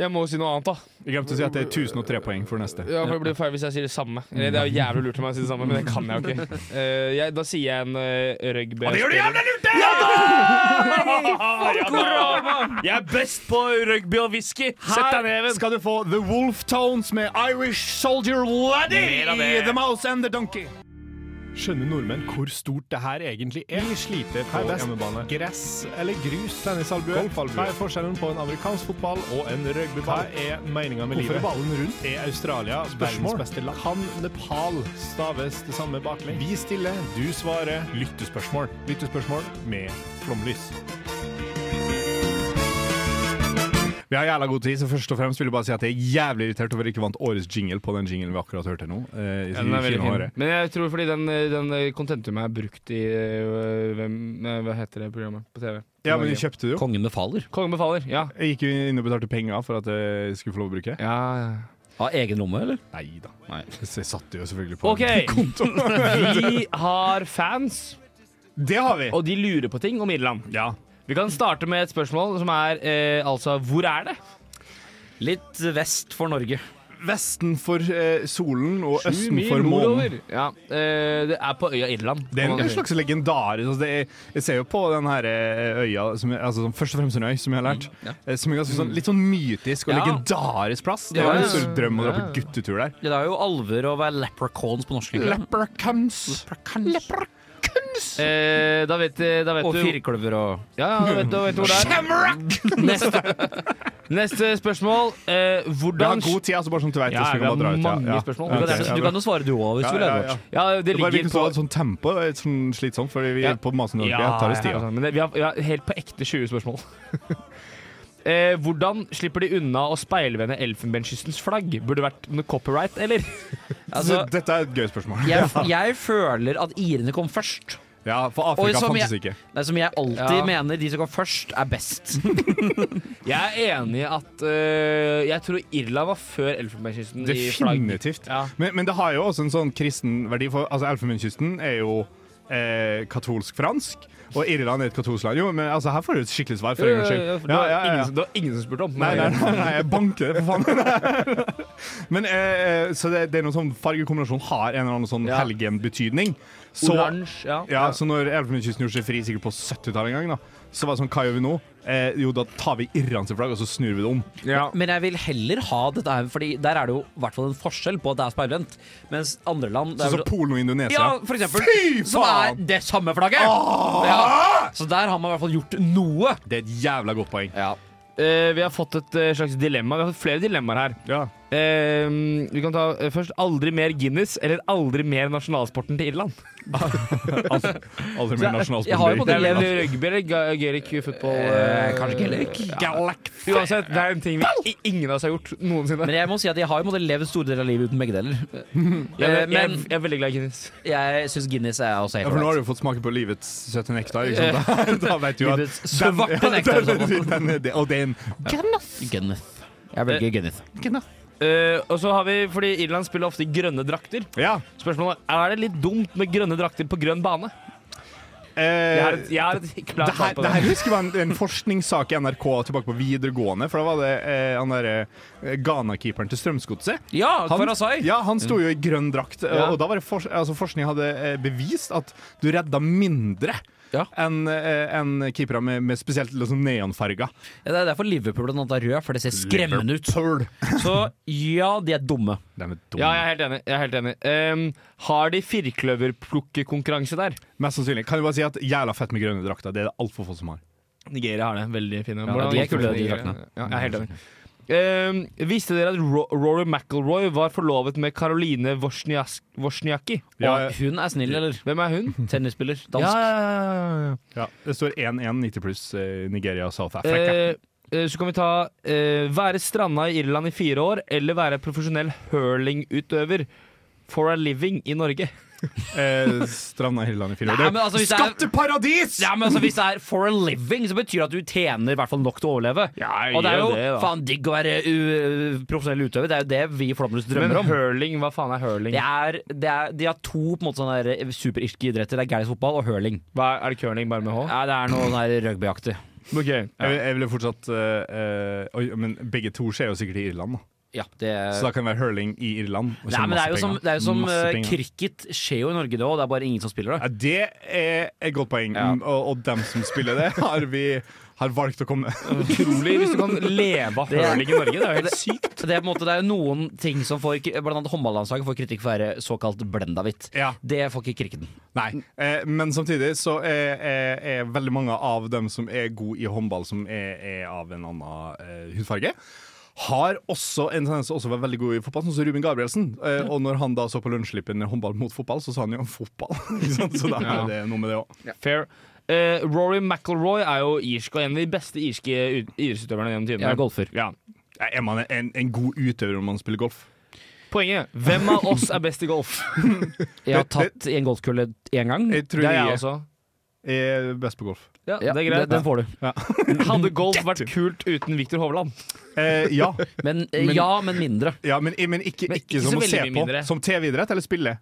Jeg må jo si noe annet, da. Jeg glemte å si at det er 1003 poeng for neste. Ja, for Det blir feil hvis jeg sier det samme. Eller, det er jo jævlig lurt av meg å si det samme, men det kan jeg jo ikke. Eh, jeg, da sier jeg en uh, rugby... Og det gjør du jævlig lurt! Jeg er best på *laughs* rugby og whisky! Sett deg ned, Her skal du få The Wolf Tones med Irish Soldier Laddie! Mer av det. The Mouse and the Donkey. Skjønner nordmenn hvor stort det her egentlig er? Vi sliter på hjemmebane. Gress eller grus? Tennisalbue. Hva er forskjellen på en amerikansk fotball og en rugbyball? Hva er meninga med Hvorfor livet? er ballen rundt? Er Australia verdens beste land? Kan Nepal staves det samme baklengs? Vi stiller, du svarer. Lyttespørsmål. Lyttespørsmål med flomlys. Vi har jævla god tid, så først og fremst vil jeg bare si at jeg er jævlig irritert over at jeg ikke vant årets jingle på den jinglen vi akkurat hørte nå. eh, i Ja, den er veldig fin. kinoåret. Men jeg tror fordi den, eh, den contentumet er brukt i øh, hvem, nei, Hva heter det programmet på TV? Ja, men de kjøpte det jo. Kongen befaler. Kongen befaler, ja. Jeg gikk jo inn og betalte penger for at jeg skulle få lov å bruke. Av egen lomme, eller? Nei da. Så jeg satte jo selvfølgelig på *laughs* OK! *laughs* Vi har fans. Det har vi. Og de lurer på ting om Irland. Vi kan starte med et spørsmål som er eh, altså Hvor er det? Litt vest for Norge. Vesten for eh, solen og Sju østen mil for månen. nordover. Ja, eh, det er på øya Irland. Det er en slags legendarisk altså det er, Jeg ser jo på den her eh, øya, som, er- altså, som først og fremst en øy, som jeg har lært, eh, som er ganske sånn, litt sånn mytisk og Ja. legendarisk plass. Det Ja, var en ja. stor drøm å dra på Ja. guttetur der. Det er jo alver å være leprechauns på norsk. egentlig. Leprechauns. Eh, da vet, da vet Og du firkløver og Ja, ja, da vet, da vet du hvor det er. Neste spørsmål. Eh, Vi har hvordan god tid, altså bare sånn at du vet. Ja, så vi vi kan har bare dra ut, ja. mange ja. spørsmål. Ja, Du ok, kan, ja, du bra. kan jo svare du òg, hvis Ja, du vil. ja, Edvard. Ja, det Det er bare ligger viktig å på ha et sånt tempo. Det er litt sånn slitsomt, fordi vi Ja. er på masende ordentlig. Jeg tar oss ja, sånn, tida. men det, vi, har, vi har helt på ekte 20 spørsmål. *laughs* Eh, hvordan slipper de unna å speilvende elfenbenskystens flagg? Burde vært noe copyright, eller? Altså- Så Dette er et gøy *laughs* spørsmål. Jeg, jeg føler at irene kom først. Ja, for Og Afrika som fantes jeg- ikke. Nei, som jeg alltid Ja. mener de som kom først, er best. *laughs* Jeg er enig i at eh, Jeg tror Irland var før elfenbenskysten i flagg. Definitivt. Ja. Men, men det har jo også en sånn kristen verdi, for altså, Elfenbenskysten er jo eh, katolsk-fransk. Og Irland er et katolsk land. Jo, men altså, her får du et skikkelig svar. for en gangs skyld. Ja, ja, ja, Øh, for det Ja, *laughs* var ja, ja. ingen som- Det var ingen som spurte om Nei, nei, nei, nei, jeg banker det, for faen. Men eh, Så det, det er noe sånn fargekombinasjon har en eller annen sånn Ja. helgenbetydning. Så, Oransje, ja. ja, så når Elfenbenskysten gjorde seg fri sikkert på 70-tallet en gang, da, så var det sånn Hva gjør vi nå? Eh, jo, da tar vi Irlands flagg, og så snur vi det om. Ja. Men jeg vil heller ha dette her, Fordi der er det jo i hvert fall en forskjell på at det er speilvendt. Mens andre land det Sånn er som vel- Polen og Indonesia. Ja, for eksempel. Fy Som er faen! Ah! det samme flagget! Ja. Så der har man i hvert fall gjort noe. Det er et jævla godt poeng. Ja. Eh, vi har fått et eh, slags dilemma. Vi har fått flere dilemmaer her. Ja. Eh, vi kan ta eh, først aldri mer Guinness eller aldri mer nasjonalsporten til Irland. Aldri mer nasjonalsport. Jeg har jo på Det det er vel rugby eller ga- Gaelic football eh, Eh, kanskje Gaelic? Galak. Uansett, det er en ting vi, i- ingen av oss har gjort noensinne. Men jeg må si at jeg har jo måttet leve store deler av livet uten begge deler. Jeg, Eh, jeg, Men jeg er veldig glad i Guinness. jeg syns Guinness er også Ja, helt for nå ålreit. har du jo fått smake på livets søte nektar. Ikke sant? Da, da vet du at Livets *laughs* svarte nektar, den- sånn. den- den- den- Og det er en Guinness. Jeg velger Guinness. Eh, og så har vi, fordi Irland spiller ofte i grønne drakter. Ja. Spørsmålet er er det litt dumt med grønne drakter på grønn bane. Jeg har Eh, et, jeg har et klart det her, svar på det her det. husker jeg var en, en forskningssak i NRK tilbake på videregående. For da var det eh, han derre eh, Ghana-keeperen til Strømsgodset. Ja, Han- Kvarasai. Ja, han sto jo i grønn drakt, eh, og- Ja. og da var det fors altså, forskning hadde eh, bevist at du redda mindre Ja. enn eh, enn keepere med, med spesielt liksom, neonfarger. Ja, Det er derfor Liverpool blant annet er rød, for det ser skremmende ut. Liverpool. Så ja, de er dumme. De er dumme. Ja, jeg er helt enig. Jeg er helt enig. Ehm, har de firkløverplukkekonkurranse der? Mest sannsynlig. Kan jo bare si at jævla fett med grønne drakter. Det er det altfor få som har. Nigeria har det. Veldig fine. Ja, Hvordan- de er kule, de Nigeria. draktene. Ja, jeg er helt enig. Ehm, visste dere at Ro Rory McIlroy var forlovet med Caroline Woznias- Wozniacki? Og hun er snill, eller? Hvem er hun? Tennisspiller. Dansk. Ja, ja, ja, ja. Ja, det står 1-1 90 pluss eh, Nigeria og South Africa. Eh, eh, så kan vi ta eh, være stranda i Irland i fire år eller være profesjonell hurlingutøver for a living i Norge. Eh, stranda i Irland i fire år. Det er altså, jo Skatteparadis! Ja, men altså, hvis det er for a living, så betyr det at du tjener i hvert fall nok til å overleve. og det er gjør jo det, da. faen digg å være u profesjonell utøver. Det er jo det vi i Flåmlys drømmer Men om. hurling, hva faen er hurling? Det er, det er, de har to på en måte sånne der superirske idretter. Det er Geis-fotball og hurling. er det curling bare med H? Ja, det er noe sånn her rugbyaktig. Ok, jeg, vil- jeg ville fortsatt eh, eh, Oi, men begge to skjer jo sikkert i Irland, da. Ja, det Så da kan det være hurling i Irland. og Nei, tjene men det er jo masse som, penger. det er jo som Masse eh, penger. cricket skjer jo i Norge, det òg. Det er bare ingen som spiller det. Ja, det er et godt poeng, Mm, og, og dem som spiller det, *laughs* har vi har valgt å komme. *laughs* Utrolig hvis du kan leve av Det er- hurling i Norge. Det er jo helt sykt. Det, er på en måte, det er jo noen ting som får Blant annet håndballandslaget får kritikk for å være såkalt blenda hvitt. Det får ikke cricketen. Mm. Nei, eh, men samtidig så er, er, er veldig mange av dem som er gode i håndball, som er, er av en annen eh, hudfarge, har også en tendens til også å være veldig god i fotball, sånn som Ruben Gabrielsen. Eh, og når han da så på lønnsslippen håndball mot fotball, så sa han jo fotball. *laughs* Ikke sant? Så da Ja. er det noe med det òg. Fair. Eh, Rory McIlroy er jo irsk, og en av de beste irske ut- idrettsutøverne gjennom tidene. Ja, golfer. Er man en, en god utøver om man spiller golf? Poenget hvem av oss er best i golf? Jeg har tatt i en golfkølle én gang. *laughs* Jeg tror Det er jeg jeg også. er best på golf. Ja, det er greit. Den får du. Hadde golf vært kult uten Viktor Hovland? Eh, ja. Men, eh, ja, men *laughs* mindre. Ja, men, men ikke, ikke, ikke så som å veldig se mye på. mindre. Som TV-idrett eller spille?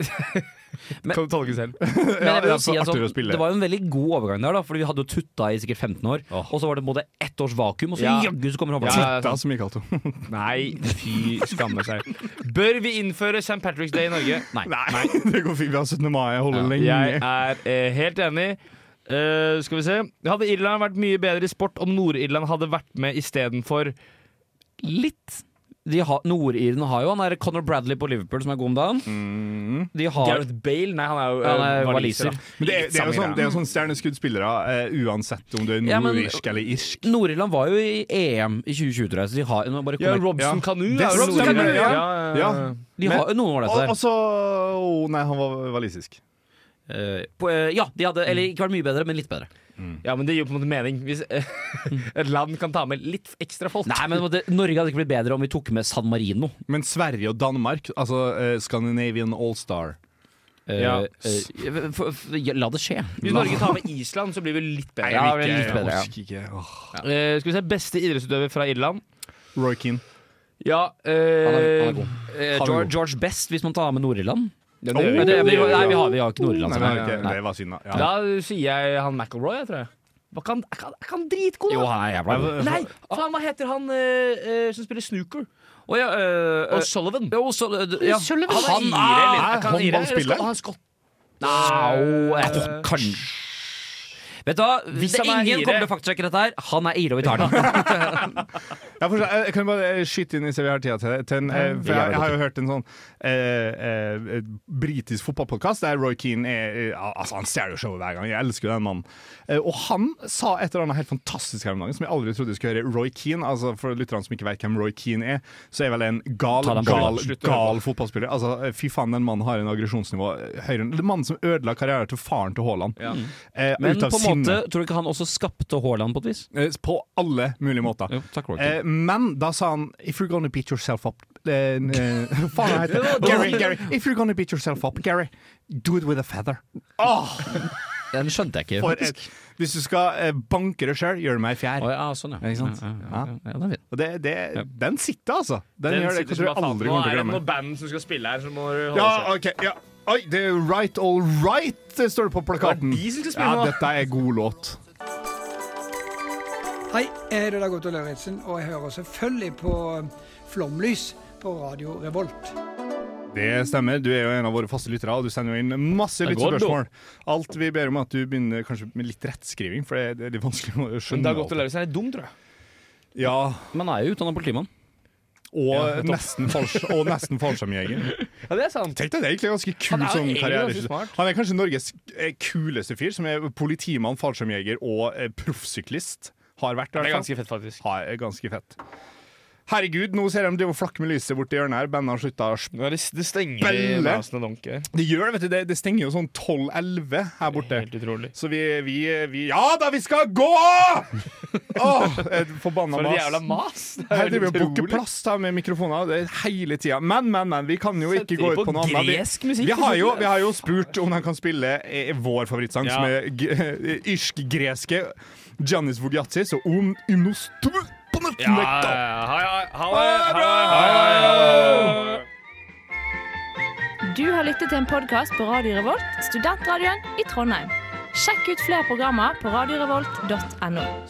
kan du tolke selv. Men jeg vil Ja, jo si det er at artigere å sånn, spille. det var jo en veldig god overgang der, da, Fordi vi hadde jo tutta i sikkert 15 år. Og så var det både ett års vakuum, og så Ja. jaggu så kommer håndballen. Ja, ja, Tutta, som jeg kalte henne. Nei, fy skammer seg. Bør vi innføre St. Patrick's Day i Norge? Nei. Nei, *laughs* det går fint. Vi har 17. mai. Jeg holder lenge. Jeg er eh, helt enig. Eh, skal vi se Hadde Irland vært mye bedre i sport om Nord-Irland hadde vært med istedenfor Litt. De har- Nord-Irene har jo han der Conor Bradley på Liverpool som er god om dagen. Mm. De har Gareth Bale? Nei, han er jo Ja, han er eh, waliser, waliser. da. Men det, er- det er jo Samme sånn, greia. det er jo sånn stjerneskuddspillere, eh, uansett om du er Ja, men- nordirsk eller irsk. Nord-Irland var jo i EM i 2020, tror jeg. Så de har nå bare Ja, connect- Robson Ja. Kanu Det er er jo Robson Nord-Irland. Kanu, ja. Ja, ja, ja. Ja. De har jo noen år, dette og- der. Og så oh, Nei, han var walisisk. Eh, på, eh, ja, de hadde Eller ikke vært mye bedre, men litt bedre. Ja, men det gir jo på en måte mening. Hvis *laughs* eh, et land kan ta med litt ekstra folk. Nei, men det, Norge hadde ikke blitt bedre om vi tok med San Marino. Men Sverige og Danmark, altså eh, Scandinavian All-Star Eh, Ja. eh, f- f- ja, la det skje. Hvis Norge tar med Island, så blir vi litt bedre. Ja, vi er litt bedre, ja. Ikke, åh. Eh, skal vi se Beste idrettsutøver fra Irland? Roy Keane. Ja eh, Han er- han er god. Eh, Han er George, god. George Best, hvis man tar med Nord-Irland. Ja, Nei, det gjør vi. det- Det vi- gjør vi, nei, ja. vi har, vi har ikke Oh, Nei, Nord-Irland. nei, som er- ok, nei. det var synd, da. Da Ja. sier jeg han McIlroy, jeg tror jeg. Hva kan, er ikke han- er ikke han dritgod, Jo, da? han er jævla god. Nei, faen, hva heter han eh, eh, som spiller snooker? Å ja, eh, eh, Og Sullivan. jo, så, eh, ja. Sullivan Han er ire, ire, eller? Hæ? Er ikke han ire, eller Håndballspiller? skal- Han er skott. Au, jeg tror kanskje Vet du hva, Hvis det Eh, er han er ingen ire- kommer til å faktasjekke dette her. Han er ire, og vi *laughs* tar den. Jeg, får, se- jeg kan bare eh, skyte inn i så vi har tida til, til en, eh, for jeg, jeg har jo hørt en sånn eh, eh, britisk fotballpodkast der Roy Keane er eh, Altså, han stjeler jo showet hver gang. Jeg elsker jo den mannen. Eh, og han sa et eller annet helt fantastisk her om dagen som jeg aldri trodde jeg skulle høre. Roy Keane, altså for lytterne som ikke vet hvem Roy Keane er, så er vel en gal, Ta den på gal, slutt. Slutt å høre på. gal fotballspiller. Altså, eh, fy faen, den mannen har en aggresjonsnivå eh, høyere enn Det er mannen som ødela karrieren til faren til Haaland. Eh, Men ut på av en sinne. måte, tror du ikke han også skapte Haaland på et vis? Eh, På alle mulige måter. takk, Roy Keane. eh, men da sa han If you're gonna beat yourself up eh, n- eh, *laughs* Hva faen heter det? Gary, Gary. If you're gonna beat yourself up, Gary, do it with a feather. Åh, Den skjønte jeg ikke. for et, hvis du skal eh, banke deg sjøl, gjør det med ei fjær. Å, ja, sånn, ja. Ikke sant? Ja, ja, Ja. ja, ja, det er fint. Og det, det, den sitter, altså. Den, gjør det. Jeg tror jeg aldri kommer til Nå er å det glemme. noe altså. band som skal spille her, så må du holde Ja, ok, ja. Oi, det er Right All Right, det står det på plakaten. Det er de som skal Ja, spille nå. dette er god låt. Hei, er jeg heter Dag Otto Lauritzen, og jeg hører selvfølgelig på Flomlys på Radio Revolt. Det stemmer. Du er jo en av våre faste lyttere, og du sender jo inn masse Det går, lyttespørsmål. Alt vi ber om er at du begynner kanskje med litt rettskriving, for det- det er litt vanskelig å Men skjønne. Dag Otto alt. Lauritzen er litt dum, tror jeg. Ja, Men han er jo utdanna politimann. og nesten fals- og nesten fallskjermjeger. Ja, det er sant. Tenk deg, det er egentlig ganske kul Han er jo sånn egentlig karriere. ganske smart. Han er kanskje Norges eh, kuleste fyr, som er politimann, fallskjermjeger og eh, proffsyklist. Har vært, i Det hvert er fall. ganske fett, faktisk. Har- er ganske fett. Herregud, nå ser jeg de driver og flakker med lyset borti hjørnet her. Bandet har slutta å spille. Det, stenger i nesen og donker. Det gjør det, vet du. Det, det stenger jo sånn 12-11 her borte. Helt utrolig. Så vi, vi, vi Ja da, vi skal gå! Åh, et forbanna For mas. et jævla mas. Det er Her helt driver vi og booker utrolig. plass da, med mikrofoner det er hele tida. Men, men, men. Vi kan jo ikke Setter gå de ut på på noe annet. gresk musikk? vi, har jo, vi har jo spurt om de kan spille eh, vår favorittsang, Ja. som er g- irsk-greske Giannis Vogiatis og Om Inostum. Ja, ja, ja. Hei, hei, halloi, halloi, halloi. Du har lyttet til en podkast på Radio Revolt, studentradioen i Trondheim. Sjekk ut flere programmer på radiorevolt.no.